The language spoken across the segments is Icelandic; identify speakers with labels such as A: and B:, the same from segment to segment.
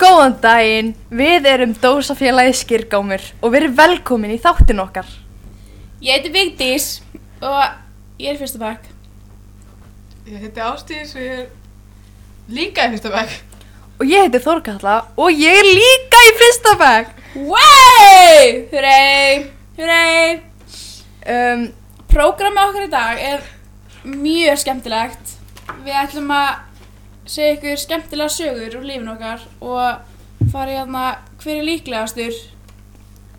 A: Góðan daginn, við erum Dósafélagið Skirgámur og við erum velkomin í þáttin okkar.
B: Ég heiti Vigdís og ég er fyrsta bakk.
C: Ég heiti Ástís og ég er líka í fyrsta bekk.
A: Og ég heiti Þorkalla og ég er líka í fyrsta bekk.
B: Wey! Hurray! Hurray!
A: Um,
B: Prógrama okkar í dag er mjög skemmtilegt. Við ætlum að segja ykkur skemmtilega sögur úr lífin okkar og fara í hérna hver er líklegastur.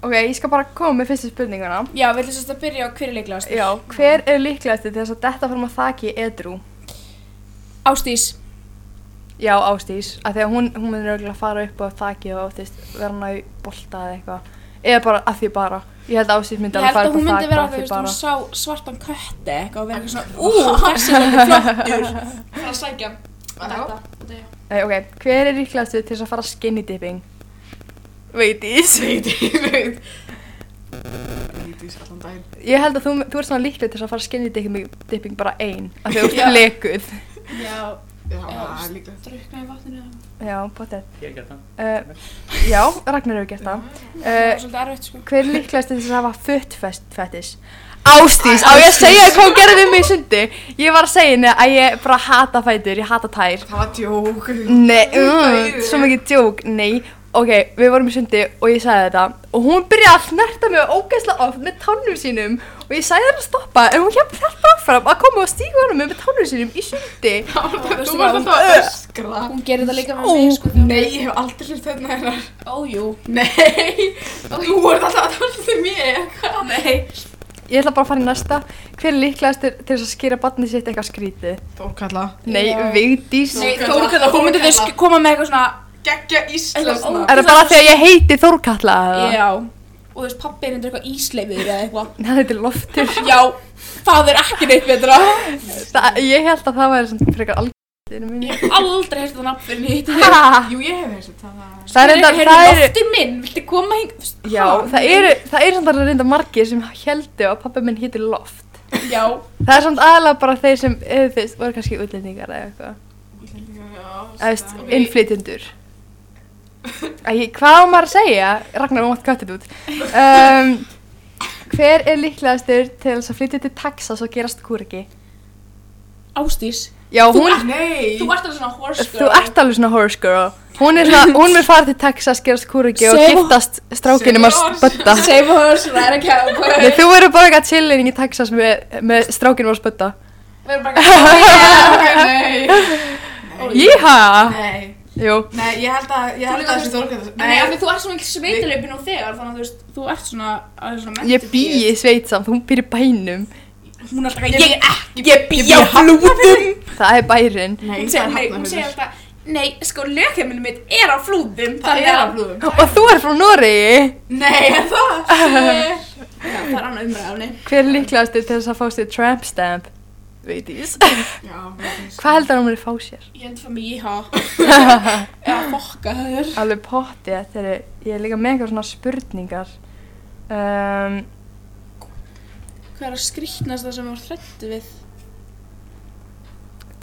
A: ok, ég skal bara koma með fyrstu spurninguna.
B: Já, við ætlum sérst að byrja á hver er líklegastur.
A: Já, hver er líklegast til þess að detta fram að þaki edru?
B: Ástís.
A: Já, Ástís, af því að hún, hún munir auðvitað fara upp á þaki og áttist vera hann að bolta eða eitthvað. Eða bara að því bara. Ég held að Ástís myndi
B: Ég
A: alveg
B: held
A: fara
B: að
A: upp á
B: hún myndi
A: þaki
B: vera
A: bara
B: að
A: að því
B: þú veist, hún
A: bara.
B: sá svartan kötti eitthvað og vera eitthvað svona, ú, þessi er alveg flottur. Það er að sækja hann.
C: Já.
B: Þetta.
A: Nei, Eh, ok, hver er líklegast til þess að fara skinny dipping? Veitís.
C: Veit. Lítið sér allan daginn.
A: Ég held að þú, þú ert svona líkleg til þess að fara skinny dipping, dipping bara ein af því að þú
B: Já.
A: ert lekuð
B: Já,
C: Já,
B: Já.
C: það er líka.
B: drukna í vatninu eða-
A: Já, potið
D: Ég hérna. hef gert það.
A: uh, Já, Ragnar hefur gert það
B: Það var
A: uh,
B: svolítið erfitt sko
A: Hver er líklegast til þess að hafa foot fest, fetish? Ástís, á ég að segja þér hvað hún gerði við mig í sundi Ég var að segja henni að ég bara hata fætur, ég hata tær
C: Það var djók.
A: Nei,
C: Það er
A: mm,
C: yfir.
A: svo mikið djók, nei Ok, við vorum í sundi og ég sagði þetta og hún byrjaði að snerta mig ógeðslega oft með tánum sínum og ég sagði henni að stoppa en hún hjá þarf áfram að koma og stíga honum með tánum sínum í sundi
B: veistu
C: Þú
B: hvað,
C: varst
B: hún-
C: alltaf að öskra.
B: Hún gerir það líka
A: Ó,
B: með mig sko þegar hún-
C: Nei, ég hef aldrei hlut þetta hennar.
B: Ójú
C: Nei, þú ert alltaf að tala til mér.
B: Nei
A: Ég ætla bara að fara í næsta. Hver er líklegast til, til þess að skýra barnið sitt eitthvað skrítið?
C: Þórkalla.
A: Nei,
B: Já.
A: Vigdís.
B: Nei,
C: Þórkatla,
B: Þórkalla, hún myndi þau sk- koma með eitthvað svona
C: Gekkja
B: Ó.
C: Íslandsna.
A: Er það bara því að ég heiti Þórkalla eða?
B: Já Og þú veist, pappi er eitthvað ísleifið eða eitthvað
A: Nei, þetta er loftur.
B: Já, það er ekki neitt betra
A: Það, ég held að það væri svona frekar algjörðinu mínu.
B: Ég hef aldrei hefði þetta nafn fyrir nýtt
A: Ha!
C: Jú, ég hef heyrst þetta. það.
A: Það er reyndar, það eru,
B: Lofti minn, viltu koma hing
A: já, það eru, það eru samt alveg reyndar margir sem heldu að pappi minn héti Loft.
B: Já
A: Það er samt aðalega bara þeir sem, eða þú veist, voru kannski útlendingar eða eitthvað.
C: Íslendingar,
A: Eða, þú veist,
C: já,
B: Ok.
A: innflytjendur. Æ, hvað á maður að segja? Ragnar, þú mátt kvættið út. Um, hver er líklegastur til þess að flytja til Texas og gerast kúriki?
B: Ástís
A: Já,
B: Þú
A: hún,
B: ert-
C: Nei.
B: Þú ert alveg svona horse
A: þú ert alveg svona horse girl. Hún er svona, hún vil fara til Texas, gerast kúriki og
B: Save-
A: giftast strákinum að
C: Save
A: spötta.
B: Save horse, það er ekki að
A: Nei, þú verður bara eitthvað chilling í Texas með, með strákinum að spötta.
B: Við erum bara
C: Nei.
A: Jíha!
C: Nei.
A: Jú,
C: Nei, ég held að, ég held að þessi Þórkalla.
B: Nei, af því þú ert svona mikil sveitalöpin og þegar þannig að þú veist, þú ert svona, að svona mentuð
A: ég bý í sveit samt, hún býr í bænum.
B: Hún er alltaf að ég ekki Ég bý á flúðum
A: Það er bærin.
C: Nei,
B: Hún
C: það
B: segir,
C: er
B: nei, hún segir
C: hafnafjörður.
B: alltaf Nei, sko, lögheimilum mitt er á flúðum
C: Það er að blúðum.
A: Og þú er frá Noregi.
C: Nei, er það?
B: Já, það er annað umræðafni
A: Hver er líklegastur til þess að fá sér tramp stamp? Veitís.
C: Já, veitís.
A: Hvað heldur hann að fá sér?
B: Ég held fyrir mig í ha Já, fokka það er
A: Alveg potti að þeirri, ég er líka með eitthvað svona spurningar. Um,
B: Hvað er að skrýtnast það sem þú ert hrættu við?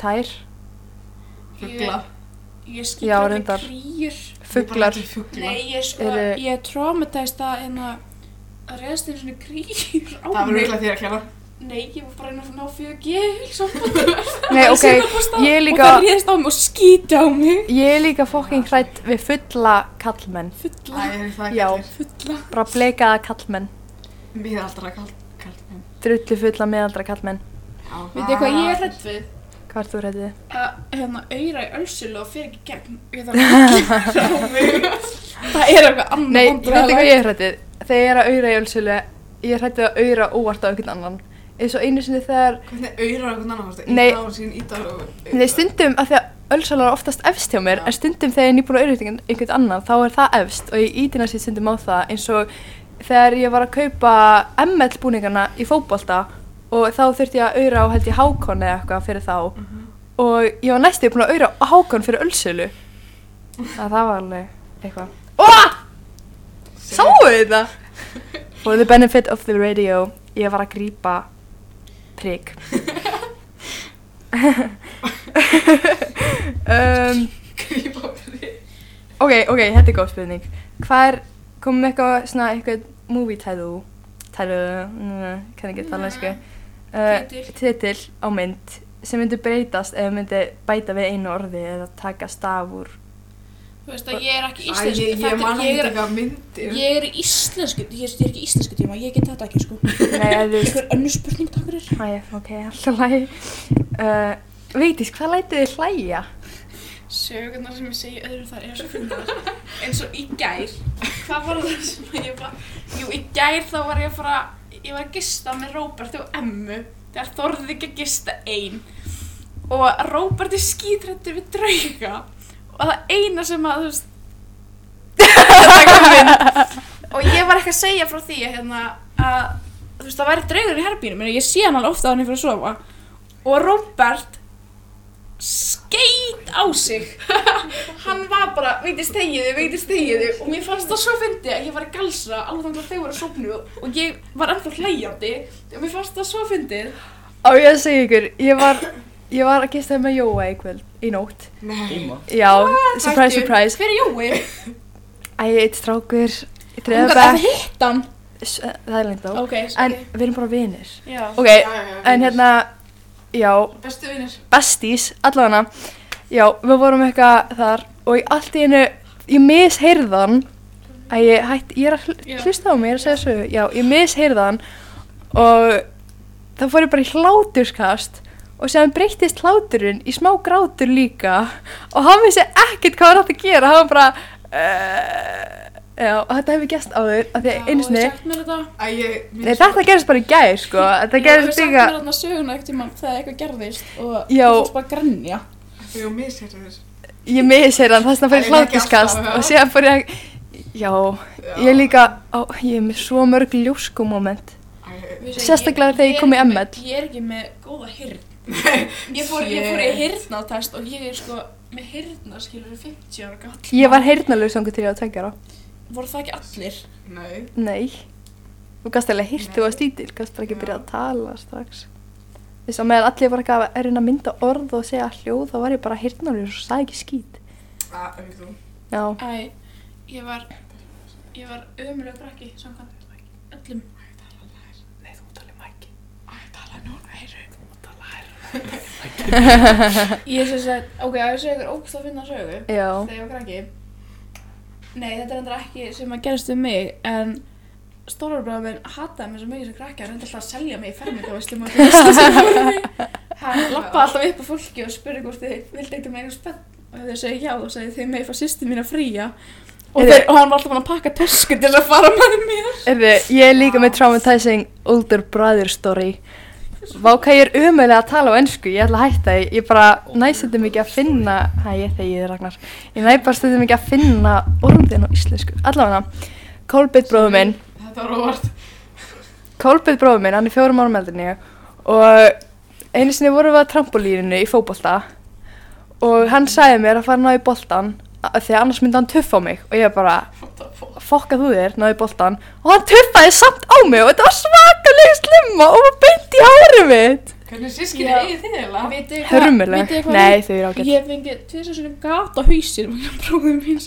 A: tær,
C: Fugla.
B: Ég, ég
A: Já,
B: skýt hrættu
A: reyndar.
B: við kríur
A: fuglar.
C: Fugla.
B: Nei, ég sko,
A: Eru-
B: ég traumatæst að hérna að reyðast þér svona kríur á
C: Það var
B: mig.
C: eiginlega þér að kjæla.
B: Nei, ég var bara að reyna að ná 4G samband.
A: Nei,
B: Ég
A: ok,
B: sé það bara stað
A: ég er
B: og
A: líka-
B: það réðst á mig og skýti á mig
A: Ég er líka fokking hrætt við fulla kallmenn,
B: Fulla,
C: Það er það
A: Já.
C: kallir.
B: fulla
A: bara bleikaða kallmenn,
C: Mér er alltaf að kalla.
A: drullu fulla meðaldra kallmenn.
B: Veitu hvað ég er hrætt við?
A: Hvað ert þú hrættið?
B: Að hérna auðra í ölsulu og fer ekki í gegn Ég þarf að skýta á mig Það er eitthvað annað
A: Nei, ég veit ekki hvað ég er hrættið. Þegar ég er að auðra í ölsölu, ég er hrættið að auðra óvart á einhvern annan. Eins og einu sinni þegar,
C: Hvernig auðrar eitthvað annar fórstu?
A: Nei.
C: Ítar og síðan ítar og...
A: nei stundum að því að ölsölar er oftast efst hjá mér,
C: Já.
A: en stundum þegar ég er nýbúin að auðra einhvern annan, þá er það efst og ég ítina sér stundum á það eins og þegar ég var að kaupa ML búningana í fótbolta og þá þurfti ég að auðra á held ég hákon eða eitthvað fyrir þá. og ég var næstu búin að auðra á hákan fyrir ölsölu það, það var alveg eitthvað oh! sáu þið það for the benefit of the radio ég var að grípa prik um,
C: Grípa fyrir.
A: Um, Ok, ok, þetta er góð spurning. Hvað er, komum við eitthvað, svona, eitthvað movie title, title, mm, kann ekki tala einsku,
B: Titill.
A: titil á mynd sem myndi breytast ef myndi bæta við einu orði eða taka staf úr.
B: Þú veist að ég er ekki
C: Æ,
B: íslensku,
C: ég, ég
B: þetta, ég
C: man ekki
B: er,
C: eitthvað myndir.
B: ég er í íslensku, ég, ég er ekki í íslensku tíma, ég get þetta ekki sko.
A: Nei, ef þú
B: Einhver önnur spurning takk fyrir.
A: Æ, ok, alltaf lægi. Uh, Veitís, hvað lætið þið hlæja?
B: Sögurnar sem ég segi öðrum þar er svo fundar eins og í gær hvað var það sem ég bara jú í gær þá var ég að fara ég var að gista með Róbert og Emmu þegar þorðið ekki að gista ein og Róbert er skítrættur við drauga og það eina sem að þú veist og ég var ekki að segja frá því hérna, að þú veist það væri draugur í herbýrum ég sé hann alveg ofta að hann er fyrir að sofa og Róbert skeit á sig hann var bara, veitist þegiðu, veitist þegiðu og mér fannst það svo fyndi að ég var að galsa alveg þannig að þau voru að sofnu og ég var ennþá hlægjandi og mér fannst það svo fyndið
A: Á ég að segja ykkur, ég var, ég var að gista með Jóa í kvöld, í nótt.
C: Nei.
D: Íma.
A: Já, surprise,
B: Hættu.
A: surprise.
B: hver er Jói?
A: Æ, eitt strákur, í
B: Hún
A: þriðja
B: gat að
A: bekk.
B: hitta hann
A: S- Það er lengt á.
B: ok,
A: En við erum bara vinir.
B: já
A: Ok,
C: Já, já, já,
A: en hérna, já,
C: Bestu vinnir.
A: besties, allavega. Já, við vorum eitthvað þar og ég allt í einu, ég misheyrðan. Æ, ég, hætt, ég er að hl-
B: Já.
A: hlusta á mig, ég er að segja sögu. Já, ég misheyrðan og þá fór ég bara í hláturskast og sem breyttist hláturinn í smá grátur líka og hann vissi ekkert hvað hann átt að gera, hann var bara, uh, já, og þetta hefur gest áður, af því að einu sinni,
B: sagt mér þetta
C: Æ, ég...
A: Nei, þetta gerist bara í gær, sko. Þetta gerist
B: líka
A: líka...
B: sagt mér þarna söguna ekkert tíma þegar eitthvað gerðist og
A: Já.
B: þú fórst bara að grænja
C: Jú, misir þess.
A: Ég misir hann, þess vegna fór ég
C: Það er ekki
A: hlátuskast
C: alltaf, já.
A: og síðan fór ég að... Já, ég líka... Á, ég er með svo mörg ljóskumóment.
C: Æ,
A: Sérstaklega þegar ég kom í ML.
B: ég er ekki með góða hirn
C: nei.
B: Ég fór, ég
C: Shit.
B: fór í hirnatest og ég er sko með hirna skilur 50 ára gall.
A: Ég var heyrnalög sangu til ég að tengja á.
B: Voru það ekki allir?
C: Nei.
A: Nei. Þú gast alveg hýrt þú
C: Nei.
A: að stítil, gast bara ekki
C: Já.
A: byrjað að tala strax. Þess að meðan allir var ekki að erinn að mynda orð og segja hljóð, þá var ég bara heyrnalög og sagði ekki skít.
C: Æ, ekki þú.
A: Já,
B: Æ, ég var, ég var ömuleg brakki samkvæmt öllum.
C: Nei, þú talar mæki. Æ, tala nú, heyru. Þú um talar heyru.
B: Ég sem sagt, ok, að ég segja ykkur ógst að finna sögu
A: já.
B: þegar ég var krakki. Nei, þetta er endur ekki sem að gerist um mig, en stórarbróðum minn hataði mig svo mikið sem krakki, hann reyndi alltaf að selja mig í ferminga veistlum og það sem voru mig. Hann lappaði alltaf upp á fólki og spurði hvort þið vildi ekki meina spenn og ef þau segi já, þá segi þið megið fá sýstir mín að fría. Og,
A: Er
B: þeir,
A: þið-
B: og hann var alltaf búinn að pakka tösku til þess að fara með mér.
A: Erðu, ég er líka með traumatizing older brother story. Vá hvað ég er umöðlega að tala á ennsku, ég ætla að hætta því. Ég bara næst þetta mikið að finna, hæ ég þegi þið Ragnar, ég næst bara þetta mikið að finna orðin á íslensku. Allavega hana, Kolbeitt bróður minn,
C: Þetta var óvart.
A: Kolbeitt bróður minn, hann er fjórum árum eldinni og einu sinni vorum við að trampolíninu í fótbolta og hann sagði mér að fara að ná í boltan af því að annars myndi hann tuffa á mig og ég bara,
C: What the fuck?
A: fokka þú þér, náðu í boltan og hann tuffaði samt á mig og þetta var svakalega slimma og var beint í hárið mitt
C: Hvernig sískinni
B: Já.
C: eigið þið eiginlega?
B: Vitið hvað-
A: Hörmuleg,
B: vitið hvað
A: nei þau eru ágætt
B: Ég hef fengið tvisar svona gata hausir með bróðum míns.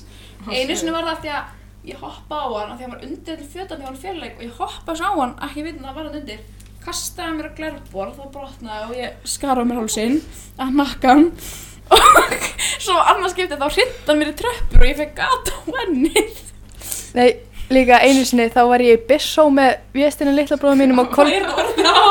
B: Einu sinni var það af því að ég hoppa á hann af því að hann var undir til fjötan þegar hann var fjarlæg og ég hoppa svo á hann, ekki veitin að það var hann undir. Kastaði mér á glerbor, þá brotnaði og ég skara á mér hálsinn, að nakka hann. Og svo annars skiptið þá hrindan mér í tröppur og ég fekk gata á hennið.
A: Nei, líka einu sinni þá var ég í Bissó með Vestinu litla bróðum mínum og Kolb
B: Meira orðið á.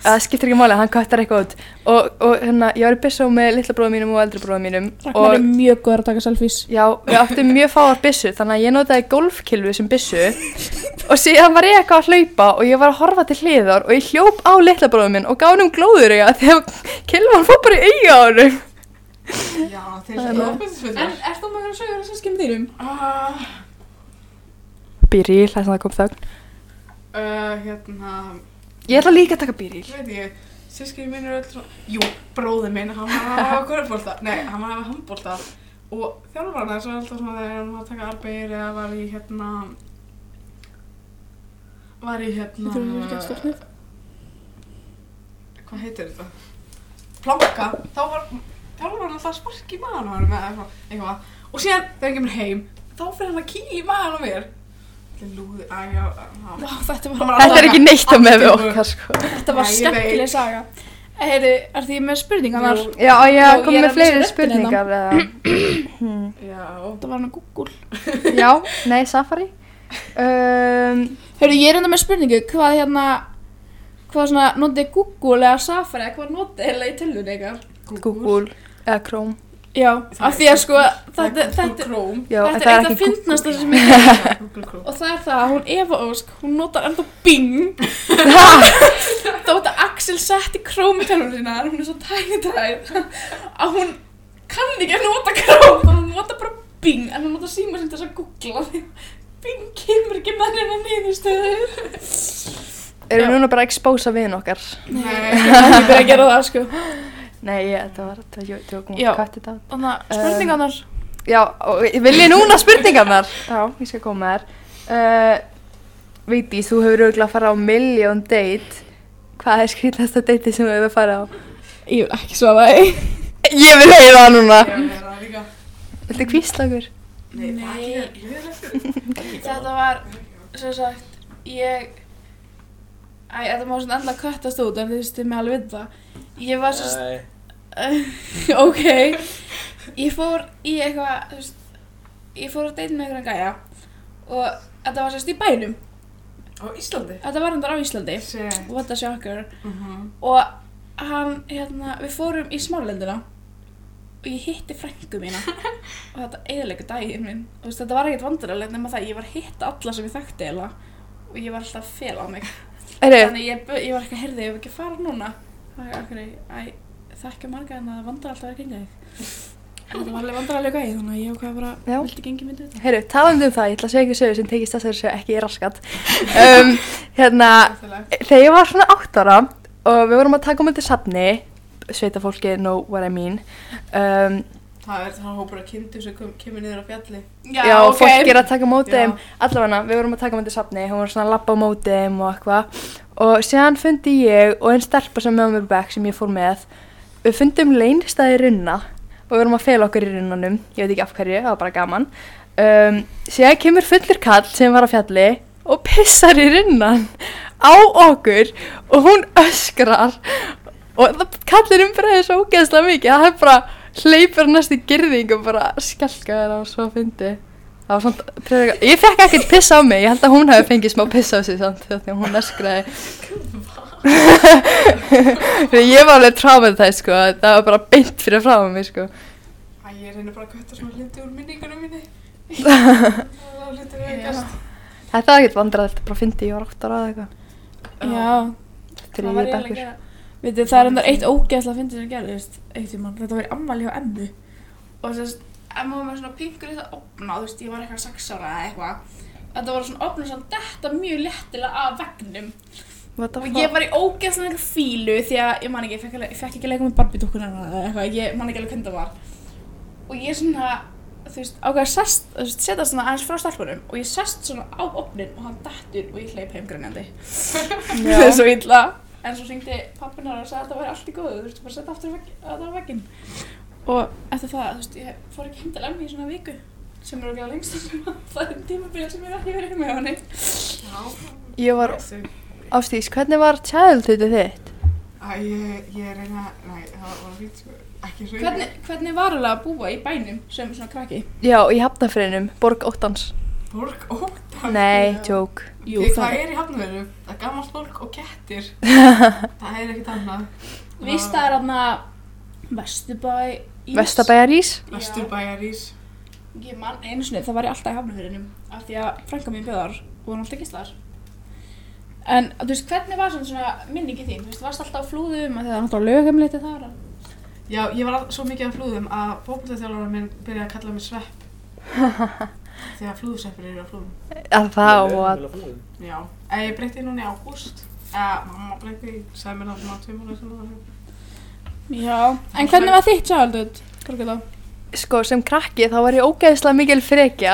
A: það skiptir ekki máli, hann kvættar eitthvað út og, og hérna, ég var í Bissó með litla bróðum mínum og eldri bróðum mínum
B: Ragnar er
A: og
B: mjög góður að taka selfies.
A: já, við áttum mjög fáar Bissu þannig að ég notaði golfkilfu sem Bissu og síðan var ég eitthvað að hlaupa og ég var að horfa til hliðar og ég hljóp á litla bróðum minn og gaf hann um glóður eiga þegar kilfan fór bara í eiga á hann
C: Já, þeir
A: Það er
C: eru
A: nú.
B: En
C: ofbeltisfullir.
B: ert þú með að sögja þessum skemmið þínum?
C: Ah,
A: Byrjil, þess að það kom þögn.
C: uh, hérna...
A: Ég ætla líka að taka byrjil.
C: Ég veit ég, sískinni mín eru öll svona, jú, bróði minn, hann var að hafa korfbólta, nei, hann var að hafa handbólta og þjálfarna er svo alltaf svona þegar hann var að taka arbeir eða var í hérna, var í
B: Þú þurfum ekki að
C: hérna,
B: stofna.
C: hvað heitir þetta? Planka, þá var þjálfarna alltaf spark í maður á hann eða eitthvað, eitthvað og síðan þegar hann kemur heim þá fyrir hann að kýla í maðan á mér Þetta er lúði, að já, að-
B: Vá, þetta var,
C: Hann var
A: Þetta er
C: allavega
A: ekki neitt á með við
C: allt í góðu.
A: okkar sko.
B: þetta var
C: Nei, ég
B: skemmtileg
C: veit.
B: saga. Heyri, er því með spurningarnar?
C: Jú.
A: Já, á ég
B: Jú,
A: að
B: ég
A: koma
B: er
A: með
B: að
A: fleiri
B: lesa röddina hérna.
A: spurningar eða?
C: Já,
B: Þetta var hann að Google.
A: Já, nei, Safari um,
B: Heyri, ég er enda með spurningu, hvað hérna, hvað svona, notið Google eða Safari eða hvað notið eða í tölvunni ykkar?
A: Google eða Chrome
B: Já,
C: Það
B: af
C: er
B: því að sko, þetta,
C: Þetta er
B: þetta,
C: Google Chrome
A: Já, en
B: þetta er eitt að finnast það sem ég
C: Google Chrome
B: Og það er það að hún Eva Ósk, hún notar enda Bing Þótt að Axel setti Chrome í tölvunum sínar, hún er svo tæknitræð að hún kann ekki að nota Chrome, þannig að hún notar bara Bing en hún notar síma sem til þess að googla því að Bing kemur ekki með hennar niðurstöðu
A: Erum
B: Já.
A: við núna bara að expósa viðin okkar?
C: Nei,
B: Ég er ekki að gera það sko
A: Nei, ég, þetta var, þetta var tjókum
B: Já.
A: katt í dag
B: Þannig að spurningarnar
A: Já, og vil ég núna spurningarnar? Já, ég skal koma með þær uh, Viti, þú hefur auðvitað að fara á million date Hvað er skrýtasta date sem þú hefur farið á?
B: Ég vil ekki svara því
A: Ég vil heyra það núna
C: ég er það líka
A: Viltu kvísla okkur?
C: Nei, það er
B: Nei.
C: ekki hérna. leiðilegt.
B: Þetta var, sem sagt, ég Æ, þetta má svona enda kattast út en þið stið með alveg við það Ég var
C: Eh.
B: svo
D: Nei.
B: ok ég fór í eitthvað þú veist, ég fór að deyta með einhverjan gæja og þetta var sérst í bænum
C: Á Íslandi
B: þetta var hendur á Íslandi
C: Shit
B: what a shocker
C: Mhm.
B: og hann, hérna, við fórum í smálendina og ég hitti frængu mína og þetta eðilega daginn minn og veist, þetta var ekkert vandræðilegt nema það ég var að hitta alla sem ég þekkti eða og ég var alltaf að fela á mig
A: Eru,
B: þannig ég, bu- ég var eitthvað herði, ég var ekki að fara núna það er okkur, æ, þekkja marga en það vandrar alltaf að genga þig En þetta var alveg vandrarlega gæði þannig að ég ákvað bara,
A: Já.
B: vildi gengi myndi þetta
A: Heyru, talandi um það, ég ætla að segja ekki sögur sem tekist þessari sögur ekki í raskat um, Hérna,
C: Skemmtilegt.
A: þegar ég var svona átt ára og við vorum að taka um þetta safni sveitafólki, know what I mean um,
C: Það er það hópur að kindu sem kom- kemur niður á fjalli
A: Já, fólk er að taka móti þeim
C: Já.
A: allavega, við vorum að taka um þetta safni hún var svona að labba á móti þeim og eitthvað og síðan fundi ég og einn stelpa sem með mér bekk sem ég fór með við fundum leynstæði runna og við vorum að fela okkur í runnanum ég veit ekki af hverju, það var bara gaman um, síðan kemur fullur kall sem var á fjalli og pissar í runnan á okkur og hún öskrar og það kallinum bregður svo ógeðslega mikið að hann bara hleypur næst í girðing og bara skelka þér á svo fyndi það var svona, pröðu, ég fekk ekkert piss á mig ég held að hún hafi fengið smá piss á sig samt því að hún öskraði Því ég var alveg traumatæð sko það var bara beint fyrir frá mig sko
C: Æ, ég reynir bara að kötta svona hluti úr minningunum minni Það er hluti
B: Já.
C: veikast
A: þetta er ekkert vandrað þetta bara fyndi ég var átt ára eða eitthvað
B: já, það var
A: þriðið
B: eiginlega
A: bekkur
B: ekki að- Vitið, það er endur eitt ógeðslega fyndið sem gerðist eitt í mann, þetta var í ammali hjá emmu og þess að emmu var með svona pinkur þetta opna, þú veist, ég var eitthvað sex ára eða eitthvað þetta var svona opna sem detta mjög léttilega af vegnum
A: What the
B: og ég
A: fuck?
B: var í ógeðslega fílu því að ég man ekki, ég fekk, alveg- ég fekk ekki að leika með barbidúkkuna eða eitthvað, ég man ekki alveg hvernig það var og ég svona þú veist, ákveða sest, þú veist, setja svona aðeins frá stelpunum og ég sest svona á opnin og hann dettur og ég hleyp heim grænjandi það er
A: Já.
B: svo illa en svo syngdi pappin hennar og sagði að þetta væri allt í góðu þú veist, bara setja aftur á vegg- þetta á vegginn og eftir það, þú veist, ég fór ekki heim til emmi í svona viku sem er okkur lengst sem það er tímabil sem ég hef ekki verið með henni
C: Já
A: ég var
C: Þessu.
A: ástís hvernig var childhoodið þitt
C: Æ, ég ég er reynir að Nei, það var fínt sko Ekki svo
B: Hvernig, hvernig var alveg að búa í bænum sem svona krakki?
A: já í hafnafrinum borg óttans
C: Borg óttan
A: nei tjók
C: Jú, það, er í hafnveru Það er gamalt fólk og kettir Það er ekkit annað
B: Vist það er aðna Vesturbæ ís.
A: vestabæjarís
C: Vesturbæjarís
B: Ég man einu sinni, það var ég alltaf í hafnafyrinum af því að frænka mín bjöðar og hún alltaf gistlar En þú veist, hvernig var svona, svona minningi þín? Þú veist, varst alltaf á flúðum að það er alltaf lögumleiti þar
C: Já, ég var all- svo mikið af flúðum að bókmyndaþjálfara minn byrjaði að kalla mig svepp Þegar flúðseppir eru á flúðum
A: að það og að
C: Já, eða ég breytti núna í ágúst eða mamma breytti, í- sagði mér náttúrulega tveimur og svona
B: Já En hvernig var þitt sjálfdöð? Torkið þá
A: sko sem krakki þá var ég ógeðslega mikil frekja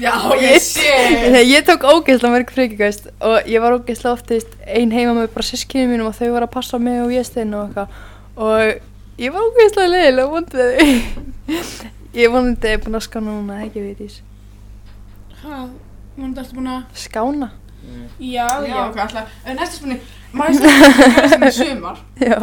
C: Já,
A: ég
C: sé
A: Þegar ég tók ógeðslega mörg frekjukvæst og ég var ógeðslega oft þú veist, ein heima með bara sískinu mínum og þau var að passa á mig og ég stein og eitthvað og ég var ógeðslega leiðilega vondið Ég vonandi er búin að skána núna, ekki veit ég.
B: Hvað? Vonandi ertu búin að...
A: Skána?
D: Mm.
B: Já, já.
C: Já, ok, alltaf. En næsta spurning, maður sér sem í sumar.
A: Já.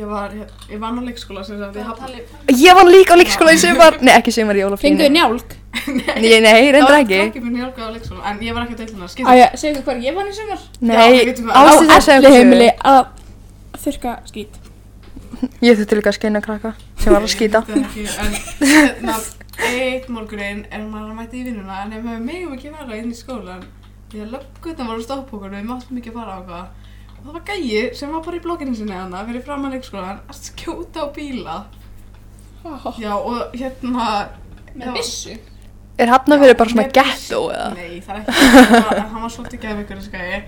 C: Ég var, ég vann á leikskóla sem sagt, ég hafði
A: Ég var líka á leikskóla í sumar. Nei, ekki í sumar, ég var á
B: Fenguðu njálg?
A: Nei, nei, reyndar ekki.
C: Það var krakkið minn hjálpað á leikskóla, en ég var ekki að deila hana,
B: Æja,
C: skipta.
B: segðu hvað ég vann í sumar.
A: Nei,
C: Já, við vitum það.
A: ástæðið
B: Á
A: þess að
B: elli heimili að þurka skít.
A: Ég þurfti líka að skeina krakka sem var að skýta.
C: Ég veit það ekki, En hérna, eitt morgunin er maður að mæta í vinnuna, en ef við megum ekki vera inn í skólan, því að löpgutna var á stoppokur og við máttum ekki að fara á hvað. Og það var gæi sem var bara í blokkinu sinni hana, fyrir fram að leikskólan, að skjóta á bíla. Já, og hérna...
B: Með
C: já.
B: bissu.
A: Er hafnafyrir bara svona
C: Nei,
A: ghetto eða?
C: Nei, það er ekki, það var- hann var svolítið geðveikur þessi gæi.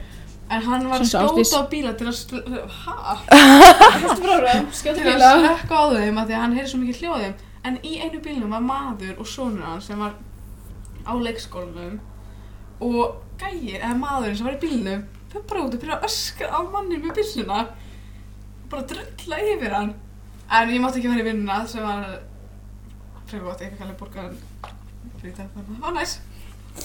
C: En hann var að
B: Svo sást
C: skjóta
B: því-
C: á bíla til að, sl- hæ?
B: Hættu bróðum, skjóttu
C: til að
B: bíla.
C: slökka á þeim af því að hann heyrði svo mikið hljóðum en í einu bílnum var maður og sonur hans sem var á leikskólanum og gæir eða maðurinn sem var í bílnum fyrir bara út og byrja að öskra á mannin með bílnuna og bara drulla yfir hann en ég mátti ekki vera í vinnuna sem var frekar gott, ég fekk alveg borgaðan fyrir þetta, þannig að það var næs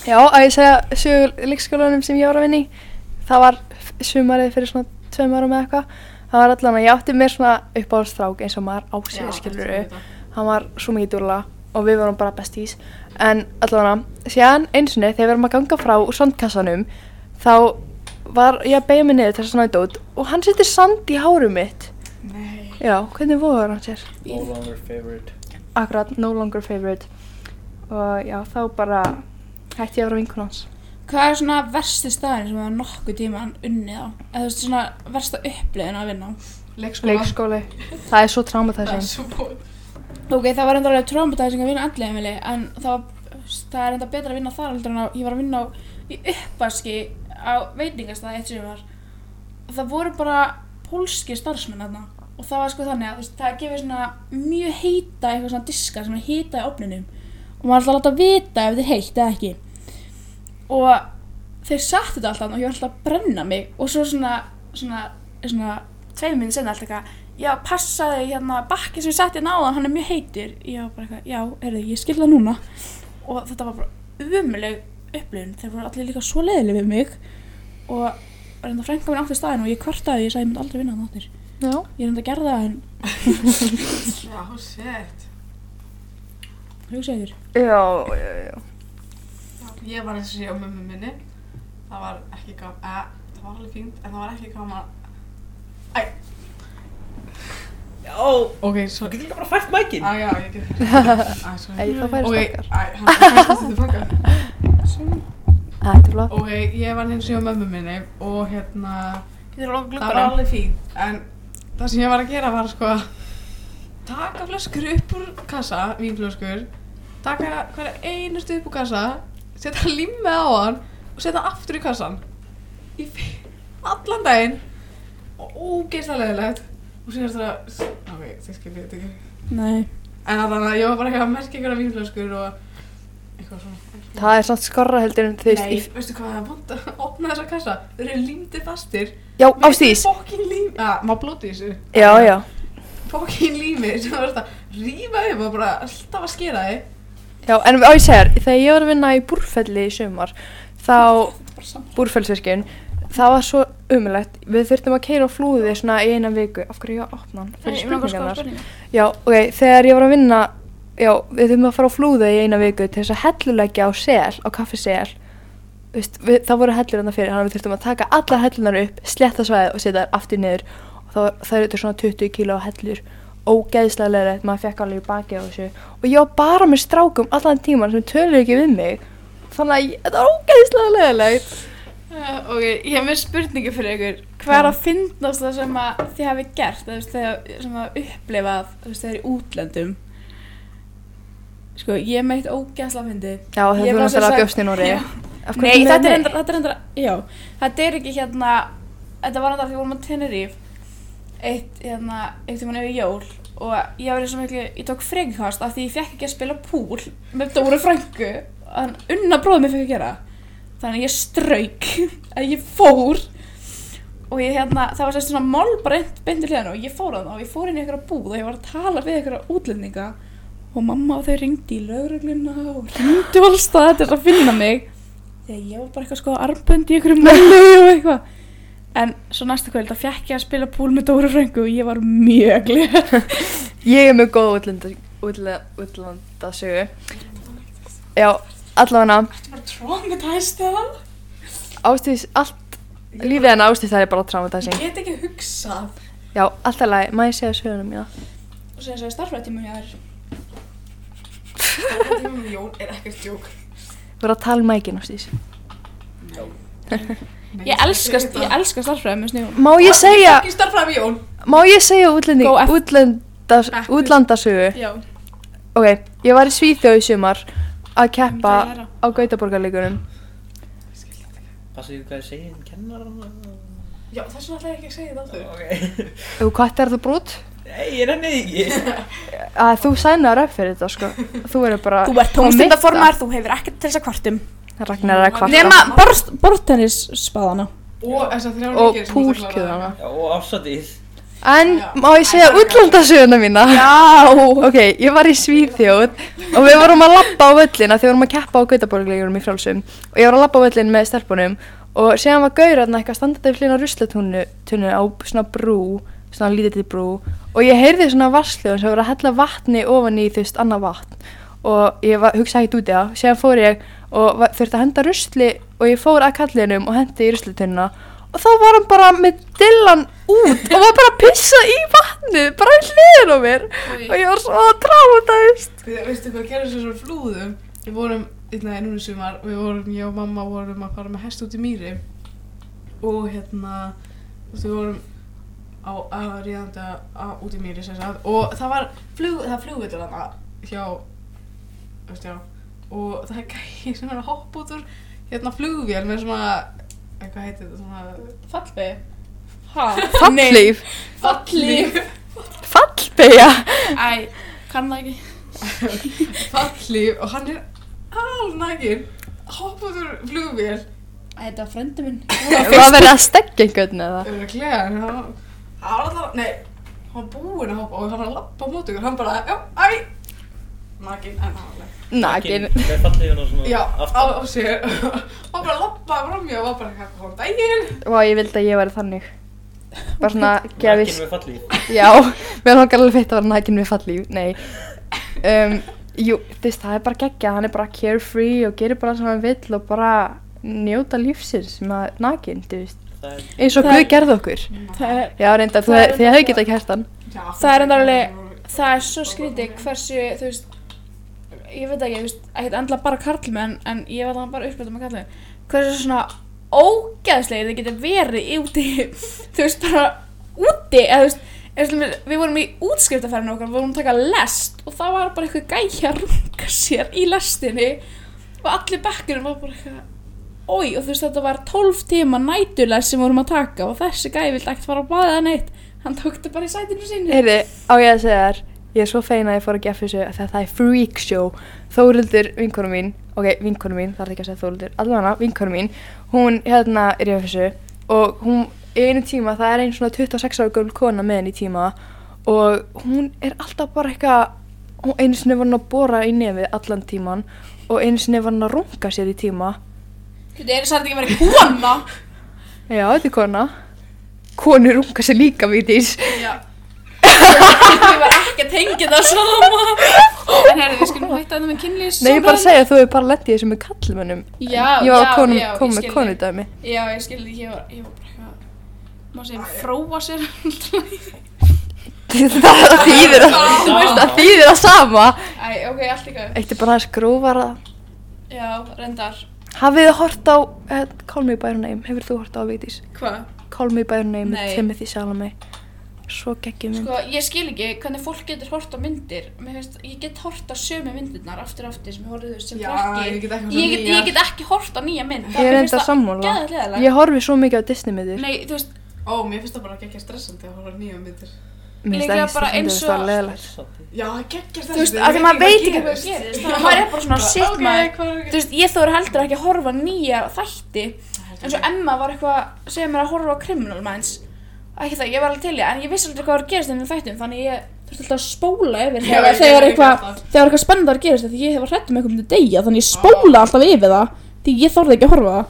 A: Já, að ég segja sögur leikskólanum sem ég var að vinna í. Það var f- sumarið fyrir svona tveim árum eða eitthvað. Það var allan að ég átti mér svona uppáhaldstrák eins og maður
C: Já,
A: ásýður skilur
C: þetta er þetta.
A: Hann var svo mikið dúla og við vorum bara besties. En allan að, síðan eins og niður þegar við erum að ganga frá úr sandkassanum þá var ég að beigja mig niður til að snæta út og hann setti sand í hárum mitt.
C: Nei,
A: Já, hvernig voru hann sér?
D: No longer favorite.
A: Akkurat, no longer favorite Og já, þá bara hætti ég að vera vinkun hans
B: Hvað er svona versti staðin sem það er nokkuð tíma hann unnið á? Eða þú veist svona versta upplifin að vinna á?
C: leikskóla
A: Leikskóli, það er svo
C: Það er
A: traumatizing
C: svo búið
B: Ok, það var enda alveg traumatizing að vinna allir heimili en það, var, það er enda betra að vinna þar heldur en að ég var að vinna á, í uppaski á veitingastæði eitt sem var það voru bara pólski starfsmenn þarna og það var sko þannig að þú veist, það gefið svona mjög heita eitthvað svona diska sem er heita í ofninum og maður er alltaf að láta vita ef þetta er heitt eða ekki og þeir sattu þetta alltaf og ég var alltaf að brenna mig og svo svona, svona, svona tveim minn senna alltaf eitthvað já, passaði hérna bakki sem ég setti hérna áðan, hann er mjög heitur ég var bara eitthvað, já, heyrðu, ég skil það núna og þetta var bara umuleg upplifun, þeir voru allir líka svo leiðileg við mig og reynda frænka minn átti staðin og ég kvartaði, ég sagði ég myndi aldrei vinna hann áttir
A: Já,
B: ég reynda að gera það en
C: Já, shit
B: hugsa yfir
A: já, já, já.
C: Ég var eins og sé á mömmu minni Það var ekki gaman eh, Það var alveg fínt En það var ekki gaman Æ
D: Já,
C: Ok,
D: þú
C: svo
D: getur líka bara fært mækin.
C: Æ, já, ég get Æ, svo
A: Ei, það færi
C: Ok,
A: stokkar
C: æ, hann fæst þetta tilbaka
A: Þetta er flott
C: Ok, ég var eins og sé á mömmu minni Og hérna
B: getur að loka
C: Það var alveg fínt En það sem ég var að gera var sko Taka flöskur upp úr kassa Vínflöskur Taka hverja einustu upp úr kassa Seta limmið á hann Og seta hann aftur í kassan Í fi- allan daginn Og ógeðslega leðilegt Og sér þetta Ok, þið skiljið þetta ekki
B: nei,
C: En þannig að ég var bara ekki að merka einhverja vínflöskur Og eitthvað svona
A: Það er samt skorra heldur en þú veist
C: Nei,
A: í-
C: veistu hvað það er vant að opna þessa kassa Þau eru límdi fastir
A: Já, ástís
C: Fokkin lím Já, maður blóti þessu
A: Já, já,
C: fokkin lími sem var alltaf að rífa upp og bara alltaf að skera þig
A: já, en á ég segjar Þegar ég var að vinna í búrfelli í sumar Þá, búrfellsvirkjun Það var svo umlegt Við þurftum að keira á flúði svona í eina viku Af hverju ég að opna hann fyrir spurningarnar Já, ok, þegar ég var að vinna Já, við þurfum að fara á flúðu í eina viku til þess að helluleggja á sel, á kaffisel Veist, við, það voru hellur hérna fyrir, þannig að við þurftum að taka allar hellunar upp, sletta svæðið og setja þær aftur niður og það, var- það eru þetta svona 20 kíló á hellur ógeðslega leðilegt, maður fekk alveg í baki á þessu og ég var bara með strákum allan tíman sem tölur ekki við mig þannig að ég, þetta var ógeðslega leðilegt
B: Uh, ok, ég hef með spurningu fyrir ykkur. Hvað er að finnast það sem að þið hafi gert, eða þú veist, þegar sem að upplifað, þú veist, þegar í útlöndum? Sko, ég meitt ógæsla fyndið.
A: Já, þetta
B: Ég
A: voru
B: var sem
A: náttúrulega
B: sagt-
A: bjóst í Nóri
B: Já. Nei, þetta er endra, þetta er endra, já, þetta er ekki hérna, þetta var endra því við vorum á Tenerife, eitt, hérna, eitt tíma nefnir jól og ég var eins og miklu, ég tók frekast af því ég fekk ekki að spila púl með Dóra Franku, en unna bróðum ég fekk að gera, þannig að ég strauk, að ég fór og ég hérna, það var sérst svona mál bara beint- beint í hliðan og ég fór að það og ég fór inn í einhverja búð og ég var að tala við einhverja útlendinga og og mamma og þau ringdi í lögregluna og ringdi alls það til að finna mig þegar ég var bara eitthvað sko armbönd í einhverju möllu og eitthvað en svo næsta kvöld þá fekk ég að spila púl með Dóru Fröngu og ég var mjög glér
A: Ég er með góða útlanda, útlanda, útlandasögu. Já, allavega
C: Þetta var traumatized það.
A: ástýðis allt, lífið hennar ástýðis það er bara
C: Ég
A: traumatizing.
C: get ekki hugsað.
A: Já, alltaf lagi, maður ég segja söguna mína.
B: og séðan sagði starfrættíma hjá þér
C: Þetta tíma með um Jón er ekkert jók.
A: Þú voru að tala um mækinn ástýðis.
B: ég elska, ég elska starfræði með snjóðum
A: Má ég segja,
C: Ég starfraði með um Jón.
A: má ég segja útlending,
B: Go F.
A: útlandas,
C: Back to-
A: útlandasögu?
B: já,
A: Ok, ég var í Svíþjóð í sumar að keppa
B: Myndi ég læra.
A: á Gautaborgarleikunum.
D: Passa ég hvað ég segi en kennar hann
C: Já, þess vegna ætla ég ekki að segja það þau.
D: Ok
A: Þú kvættir þú brút?
D: Nei, ég nenni því ekki
A: Að þú sænaður upp fyrir þetta, sko. Þú eru bara...
B: þú ert tónstendaformar, þú hefur ekkert til þess að kvartum
A: Ragnar er að kvarta.
B: nema borst- borðtennisspaðana
C: Og þess að þrjá
A: Og
C: leikir sem þú ætlar að
A: púlkjöðana.
D: Já, og ástæðið
A: En
C: Já.
A: má ég segja
C: Æ,
A: útlandasöguna mína? Já! Ok, ég var í Svíþjóð og við vorum að labba á völlin af því við vorum að keppa á Gautaborgleikunum í frálsum og ég var að labba á völlin með stelpunum og séðan var gaurarna eitthvað standandi við hlýna ruslatunnu tunnu á svona brú svona lítið brú og ég heyrði svona varsljóðum sem voru að hella vatni ofan í þú veist annað vatn og ég var, hugsaði ekkert út í það séðan fór ég og var, þurfti að henda rusli og ég fór að kallinum og hendi í ruslitunnuna og þá var hann bara með dillan út og var bara að pissa í vatnið bara í hliðin á mér
C: Oj.
A: og ég var svo traumatæst
C: Við, veistu hvað gerðist þessar flúðum? Við vorum, eitthvað núna í sumar, við vorum, ég og mamma vorum að fara með hest út í mýri og hérna, þú veist, við vorum á að ríðanda á, út í mýri sem sagt og það var flug, það flugvillur þarna hjá, þú veist, já, og það er gæði sem er að hoppa út úr hérna flugvél með svona, eitthvað heitir þetta, svona,
B: fallbegi ha,
A: fallíf,
B: fallíf
A: fallbeja
B: æ, kann það ekki
C: fallíf og hann er alnægir, hoppa út úr flugvél
B: Æ, þetta var frendi minn
A: og að vera að stekja einhvern eða
C: Örglega, en hann hann var alltaf, nei, hann var búinn að hoppa og hann var að lappa á móti ykkur, hann bara, já, æ, nakin, en hann alveg,
A: nakin
D: Hvað er fallið hann og svona
C: já, á,
D: aftan?
C: á sér, hann bara lappaði fram í og var bara, hvað, hvað, daginn,
A: og ég vildi að ég væri þannig bara svona gefist
D: Nakin með fallið
A: já, mér langar alveg feitt að vera nakin við fallíf nei um, jú, þú veist, það er bara geggjað, hann er bara carefree og gerir bara sem hann vill og bara njóta lífsins sem að nakin, þú veist
D: Það er
A: eins og
B: Það-
A: Guð gerði okkur
B: það er,
A: Já, reyndar, þú-
B: Það er
A: þið hefðu getað kert hann.
C: já,
B: Það er enda alveg- það er svo skrítið hversu, þú veist ég veit ekki, þú veist, ekkert endla bara karlmenn en ég var það bara upplættum að karlmenn hversu svona ógeðslegir þið geta verið í úti þú veist, bara úti eða þú veist, eins og við- við vorum í útskriftaferðinu okkar, við vorum að taka lest og það var bara eitthvað gæja að runga sér í lestinni og allir bekkurinn var bara eitthvað oi, og þú veist, þetta var 12 tíma nætulest sem við vorum að taka og þessi gæja vildi ekkert fara að baða eða neitt hann tók þetta bara í sætinu sinni
A: Heyrði, á ég að segja þér, ég er svo fein að ég fór að gefa þessu að það er freak show. Þórildur, vinkonu mín, ok, vinkonu mín, það er ekki að segja Þórildur, allavega vinkonu mín, hún hérna er í þessu og hún, í einu tíma, það er einn svona 26 ára gömul kona með henni í tíma og hún er alltaf bara eitthvað, hún- einu sinni var hann að bóra í nefið allan tíman og einu sinni var hann að runga sér í tíma.
B: Þú veit, er það ekki verið kona?
A: Já, þetta er kona. Konur runga sér líka, vitís.
B: Já. Ég var ekki að tengja það sama. En herri, við skulum hætta þetta með kynlýs.
A: Nei, ég er bara að segja að þú hefur bara lendið þessu með kallmönnum.
B: Já,
A: Ég var
B: já,
A: að konum,
B: já, ég
A: kom með
B: skil þig.
A: konudæmi.
B: Já, ég skilði, ég var, ég var bara eitthvað, maður segir, fróa sér.
A: það þýðir að, þú veist, það þýðir að sama.
B: Æ, ok, allt í góð.
A: Eitt er bara aðeins grófara.
B: Já, reyndar.
A: Hafið þið hort á, eh, Call Me By Your Name, hefur þú hort á Vigdís?
B: Hvað?
A: Call Me By Your Name með
B: Nei.
A: Timothy Salome. Svo geggjum mynd.
B: Sko, ég skil ekki hvernig fólk getur hort á myndir. Mér finnst, ég get hort á sömu myndirnar aftur og aftur sem ég horfði þú veist sem
C: Já, ég
B: krakki.
C: get ekki
B: Ég get, ég
C: nýjar.
B: get ekki hort á nýja mynd.
A: Ég er enda sammála.
B: Gæðilega.
A: Ég horfi svo mikið á Disney myndir.
B: Nei, þú veist,
C: Ó, mér finnst það bara ekki stressandi að horfa á nýja myndir.
A: Mér finnst
B: líklega
A: ekki
B: bara
A: stundum
B: eins
A: það
B: og-
A: leðilegt.
C: Já, ekki ekki stressandi.
B: þú veist, af því maður veit ekki hvað gerist.
C: Já,
B: Þannig að maður er bara svona sitt maður.
C: Ok, hvað er
B: Þú veist, ég þóður heldur ekki að horfa á nýja þætti eins og Emma var eitthvað að segja mér að horfa á Criminal Minds ekki það, ég var alveg til í það, en ég vissi aldrei hvað var að gerast í þessum þættum þannig ég þurfti alltaf að spóla yfir
C: Já,
B: þegar, þegar
C: ég gerði
B: eitthvað
C: líka alltaf.
B: þegar eitthvað spennendar gerist því ég hef að hrætt um eitthvað myndi deyja þannig
C: Ah.
B: ég spóla alltaf yfir það því ég þorði ekki að horfa á það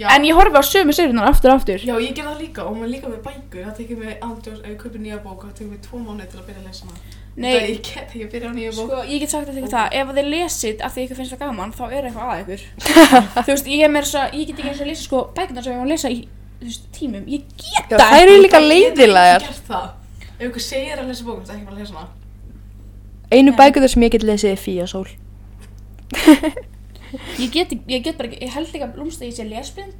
C: Já.
B: en ég horfi á sömu seriunar aftur og aftur
C: Já, ég gerði það líka og maður líka með bækur, það tekið mig andjós, ef ég kaupir nýja bók, það tekið mig tvo mánuði til að byrja að lesa hana.
B: Nei.
C: Það er ég get ekki að byrja á nýja bók.
B: Sko, ég get sagt eitthvað það, ef þið lesið af því ykkur finnst það gaman, þá er eitthvað að ykkur. þú veist, ég er meira svo, ég get ekki eins og að lesa sko bækundar sem ég var að lesa í, þú veist, tímum. Ég get
A: Já,
B: það
A: þær eru líka
C: Ég get
A: leiðilegar.
C: ekki gert það. Ef ykkur segir að lesa bókum, það er ekki bara að lesa hana.
A: Einu
B: Já.
A: bækuður sem ég get lesið er Fíasól.
B: Ég get, ég get bara ekki, ég held ekki að blómsta ég sé lesbind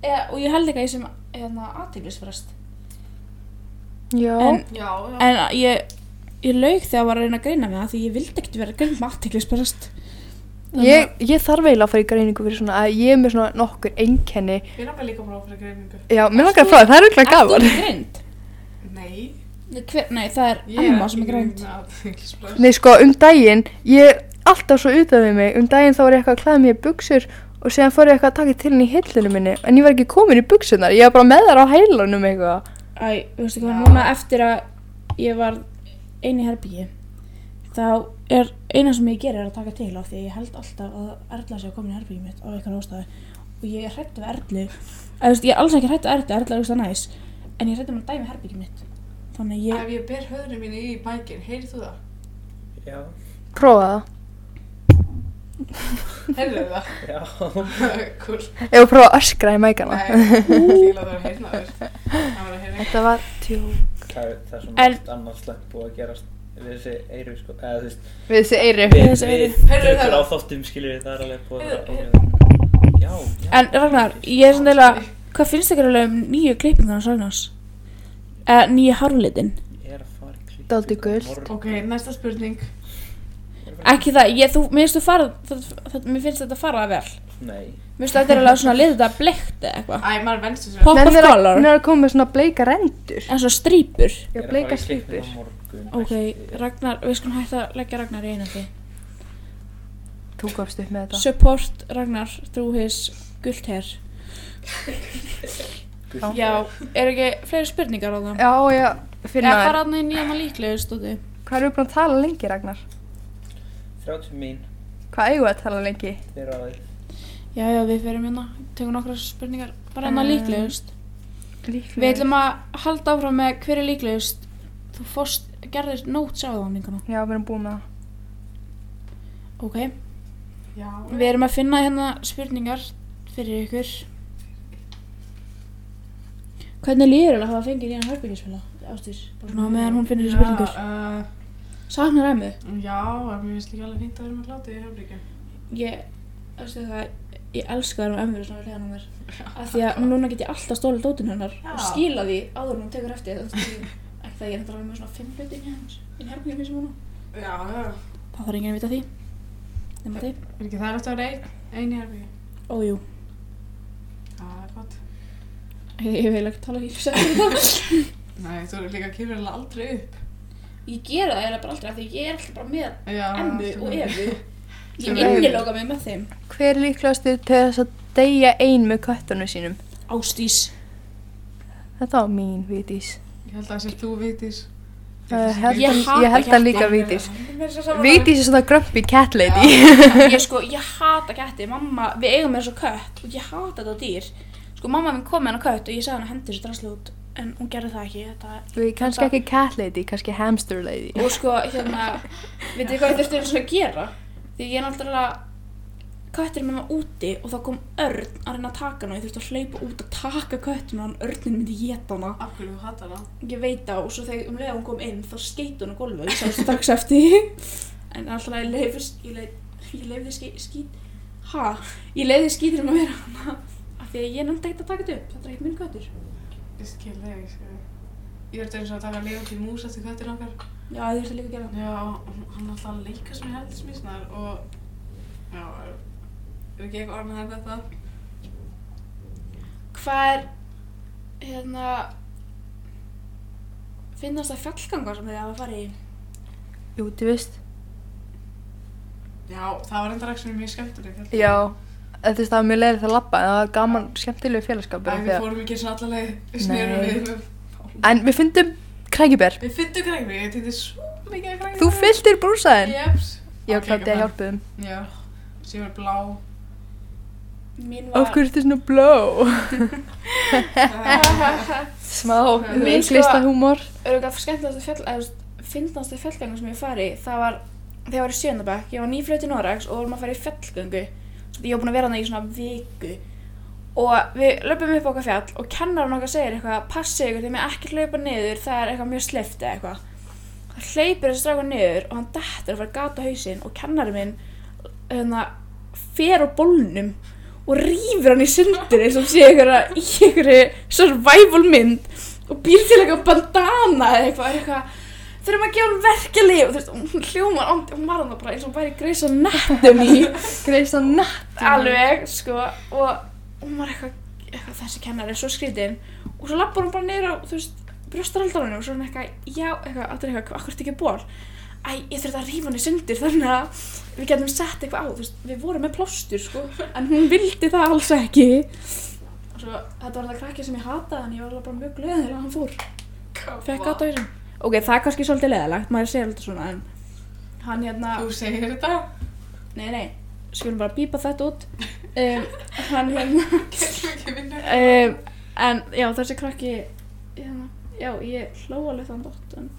B: eða, og ég held ekki að ég sem, hérna, aðteglisfrest.
A: Já.
B: En,
C: Já, já.
B: en ég, ég laug þegar ég var að reyna að greina mig það því ég vildi ekkert vera að greina með aðteglisfrest.
A: ég, ég þarf eiginlega að fara í greiningu fyrir svona að ég er með svona nokkur einkenni.
C: Við erum líka bara á fyrir greiningu.
A: Já, mér langar að fá það, það er auðvitað
B: Það
A: gaman.
B: grind?
C: Nei.
B: Nei, Hver, nei, það er
C: ég er hérna,
B: amma sem er
C: ekki
B: greind.
C: með athyglisbrest.
A: Nei, sko, um daginn, ég er alltaf svo utan við mig. Um daginn þá var ég eitthvað að klæða mig í buksur og séðan fór ég eitthvað að taka til henni í hillinu minni. En ég var ekki komin í buksunar, ég var bara með þær á heilanum eitthvað.
B: Æ, þú veist ekki hvað,
C: Já.
B: núna eftir að ég var ein í herbyggi þá er eina sem ég gerir er að taka til á því að ég held alltaf að Erla sé að koma í herbyggi mitt á eitthvað ástæði og ég er hrættu við Erlu eða þú veist, ég er alls ekki hrættu við Erlu, Erla er úrst að næs en ég er hrættu með að dæmi herbyggi mitt þannig að ég,
C: Ef ég ber höfðinu mínu í bækinn, heyrið þú það?
D: Já,
A: Prófa það.
C: Heyrðu það?
D: já.
C: Kúl.
A: Ég var að prófa að öskra í mækana.
C: Nei, líla það er að heyrna þér. Það var að heyrna
A: Þetta var tjó.
D: Það er, það er svo
B: En-
D: margt annað slæmt búið að gerast við þessi eyru, sko. Eða, þú veist,
A: Við þessi eyri.
D: við,
B: þessi eyru.
D: við,
C: Heyrðu,
D: tökur
C: heyrðu.
D: á þóttum, skilur við, það er alveg búið að
C: Heyrðu,
D: vera- Já, já.
B: en Ragnar, ég er svona eiginlega hvað finnst þér alveg um nýju klippingar hans Ragnars? eða nýju hárlitin?
D: Ég er að fara í klipp.
A: Dálítið gult.
C: Ok, næsta spurning.
B: ekki það, ég, þú, mér finnst þú fara það, það, mér finnst þetta fara vel
D: Nei.
B: mér finnst þetta er alveg svona liðið að bleikt eða eitthvað
C: Æ, maður vennstu sér.
B: Pop of color
A: Hún er að koma með svona bleika rendur.
B: En svo strýpur
A: Já,
D: Ég er að
A: bleika
D: fara í klippingu
A: slipur.
D: á morgun.
B: Ok,
D: Ætti-
B: Ragnar, við skulum hægt að leggja Ragnar í einandi
A: Þú komst upp með þetta.
B: Support Ragnar through his gult hair
D: Gull.
B: Já, eru ekki fleiri spurningar á það?
A: Já, já,
B: Eða
A: finna
B: fara
A: þér.
B: hann í nýjama líklega stóti
A: Hvað erum við búin að tala lengi, Ragnar?
D: 30 mín,
A: Hvað eigum við að tala lengi?
D: þeir á þeir.
B: Já, já, við fyrir hérna, tökum nokkra spurningar Bara hann að
A: Um,
B: líklegust
A: Líklega.
B: Við ætlum að halda áfram með hver er líklegust Þú fórst, gerðir nóts á það minguna
A: Já, við erum búin með það.
B: Ok,
C: Já.
B: við erum að finna hérna spurningar fyrir ykkur Hvernig líður að hafa fengið nýjan herbyggisfélag? Ástís, bara meðan hún finnir þessi spurningar
C: Já,
B: Saknar æmu?
C: uh, já, en mér finnst líka alveg fínt að vera með hlátu í höfbríkju.
B: Ég, veistu það, ég elska það um æmu svona við hliðan á mér. Af því að núna get ég alltaf stólið dótinn hennar og
C: Já.
B: skila því áður en hún tekur eftir það. Ekki það ég er þetta alveg með svona fimm hluti inn í hans, inn í herbygjum eins og núna.
C: Já, já.
B: Það þarf enginn að vita af því. Nefna þið?
C: Er ekki það eftir að vera ein, ein í höfbríkju?
B: Ójú.
C: Það er gott.
B: Ég, ég vil ekki tala í þessu eftir það.
C: Nei, þú eru líka kýrðurlega aldrei upp.
B: Ég gera það eiginlega bara aldrei af því ég er alltaf bara með
C: Já.
B: emmu
C: þú-
B: og efu.
C: Sem
B: Ég
C: er-
B: inniloka mig með þeim.
A: Hver er líklegastur til þess að deyja ein með köttunum sínum?
B: Ástís.
A: Þetta var mín, Vítís.
C: Ég held að það sem þú vitis.
A: Uh, held,
B: Ég
A: ég,
B: hata
A: ég held
B: ketti.
A: að líka Vítís.
C: Viti.
A: Vítís er svona grumpy cat lady.
B: ég sko, ég hata ketti, mamma, við eigum með þessu kött og ég hata þetta dýr sko, mamma minn kom með hennar kött og ég sagði henni að hendi þessu drasli út en hún gerði það ekki, þetta
A: Við kannski ekki cat lady, kannski hamster lady.
B: og sko, hérna, veitir þið hvað ég þurfti einu sinni að gera því ég er náttúrulega köttur er með maður úti og þá kom örn að reyna að taka hana og ég þurfti að hlaupa út að taka köttin og hann örnin myndi geta hana
C: Af hverju þú hattar það?
B: ég veit það og svo þegar um leið og hún kom inn þá skeit hún á gólfu og ég sá strax eftir því. en alltaf ég leif ég leif, ég leif því skít ha, ég leif því skítir um að vera hana af því að ég nefndi ekkert að taka þetta upp þetta er ekkert minn köttur
C: Ég skil þig, ég skil. Ég er eins og að taka lifandi mús eftir köttin okkar.
B: já, ég þurfti líka að gera það
C: Já, hann er alltaf að leika sem ég heldur smisnar og... Já, er, er ekki eitthvað orðin að þetta?
B: hvað er hérna finnast það fjallgangar sem þið hafa farið í
A: Jú, þú veist.
C: Já, það var enda rækst sem er mjög skemmtileg. held ég.
A: Já, eða þú veist, það var mjög leiðilegt að labba, en það var gaman, skemmtilegu
C: Æ,
A: félagskapur. af
C: við
A: því að-
C: fórum ekki eins og allaleg, við snerum
A: Nei.
C: við.
A: En við fundum krækibér.
C: Við fyndum krækni, ég týndi svo mikið að krakka
A: Þú fylltir brúsaðinn?
C: Jeps
A: Já, klátti að hjálpa þeim.
C: Já, sem er blá
B: Mín
A: Af hverju ertu svona bló? Smá,
B: Mín sko-
A: glista húmor.
B: Öruglega skemmtilegast fjall, eða þú veist, fyndnasta fjallgöngu sem ég hef farið í, það var þegar ég var í sjöndabæk, ég var nýflutt í Noregs og vorum að fara í fjallgöngu ég var búin að vera hann í svona viku og við löpum upp á okkar fjall og kennarinn okkar segir eitthvað passið ykkur þegar mér ekki hlaupa niður það er eitthvað mjög sleift eða eitthvað það hleypir þessi strákur niður og hann dettur að fara gata hausinn og kennarinn minn hérna, fer á bólnum og rýfur hann í sundur eins og sé einhverja í einhverju survival mynd og býr til eitthvað bandana eða eitthvað, eitthvað þurfum að gefa hann verkefli og þú veist, hún hljómar ándi, hún var hann bara eins og hún væri greisa nettum í
A: Greist á natt.
B: alveg, sko og hún var eitthvað, eitthvað þessi kennari er svo skrítinn og svo lappar hún bara niður á, þú veist, brjóstaraldarunni og svo er hún eitthvað, já, eitthvað, allir eitthvað, akkur ekki ból æ, ég þurfti að rífa henni sundir þannig að við getum sett eitthvað á þú veist, við vorum með plástur, sko en hún vildi það alls ekki og svo, þetta var það krakkið sem ég hataði en ég var alveg bara mjög glöðið að hann fór fekk átt á þessum ok, það er kannski svolítið leðalegt, maður segir alltaf svona en hann hérna
C: Þú segir þetta
B: nei, nei, skulum bara bípa þetta út um, hann hérna
C: Getur ekki vinnu
B: um, en já, þessi krakki hérna, já, ég hló alveg þann dótt en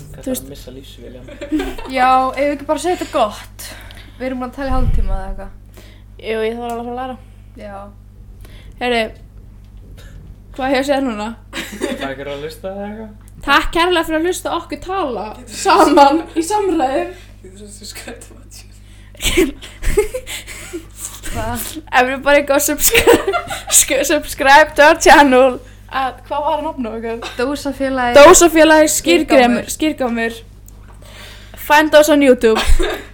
D: Þetta
B: Þú
D: er
B: veist-
D: að missa lífsviljan.
A: Já, ef við ekki bara segja þetta gott. Við erum búin að tala í hálftíma eða eitthvað.
B: jú, ég þarf alveg að fara að læra
A: Já.
B: herri, hvað hefur séð núna?
D: Það er ekki að lusta eða eitthvað.
B: Takk kærlega fyrir að hlusta okkur tala saman í samræðum
C: Getur þetta skrætt um að
A: Hvað?
B: Everybody go subscribe sk- subscribe to our channel að, hvað var hann opna okkur?
A: Dósafélagi.
B: Dósafélagi skýrgámur Find us on YouTube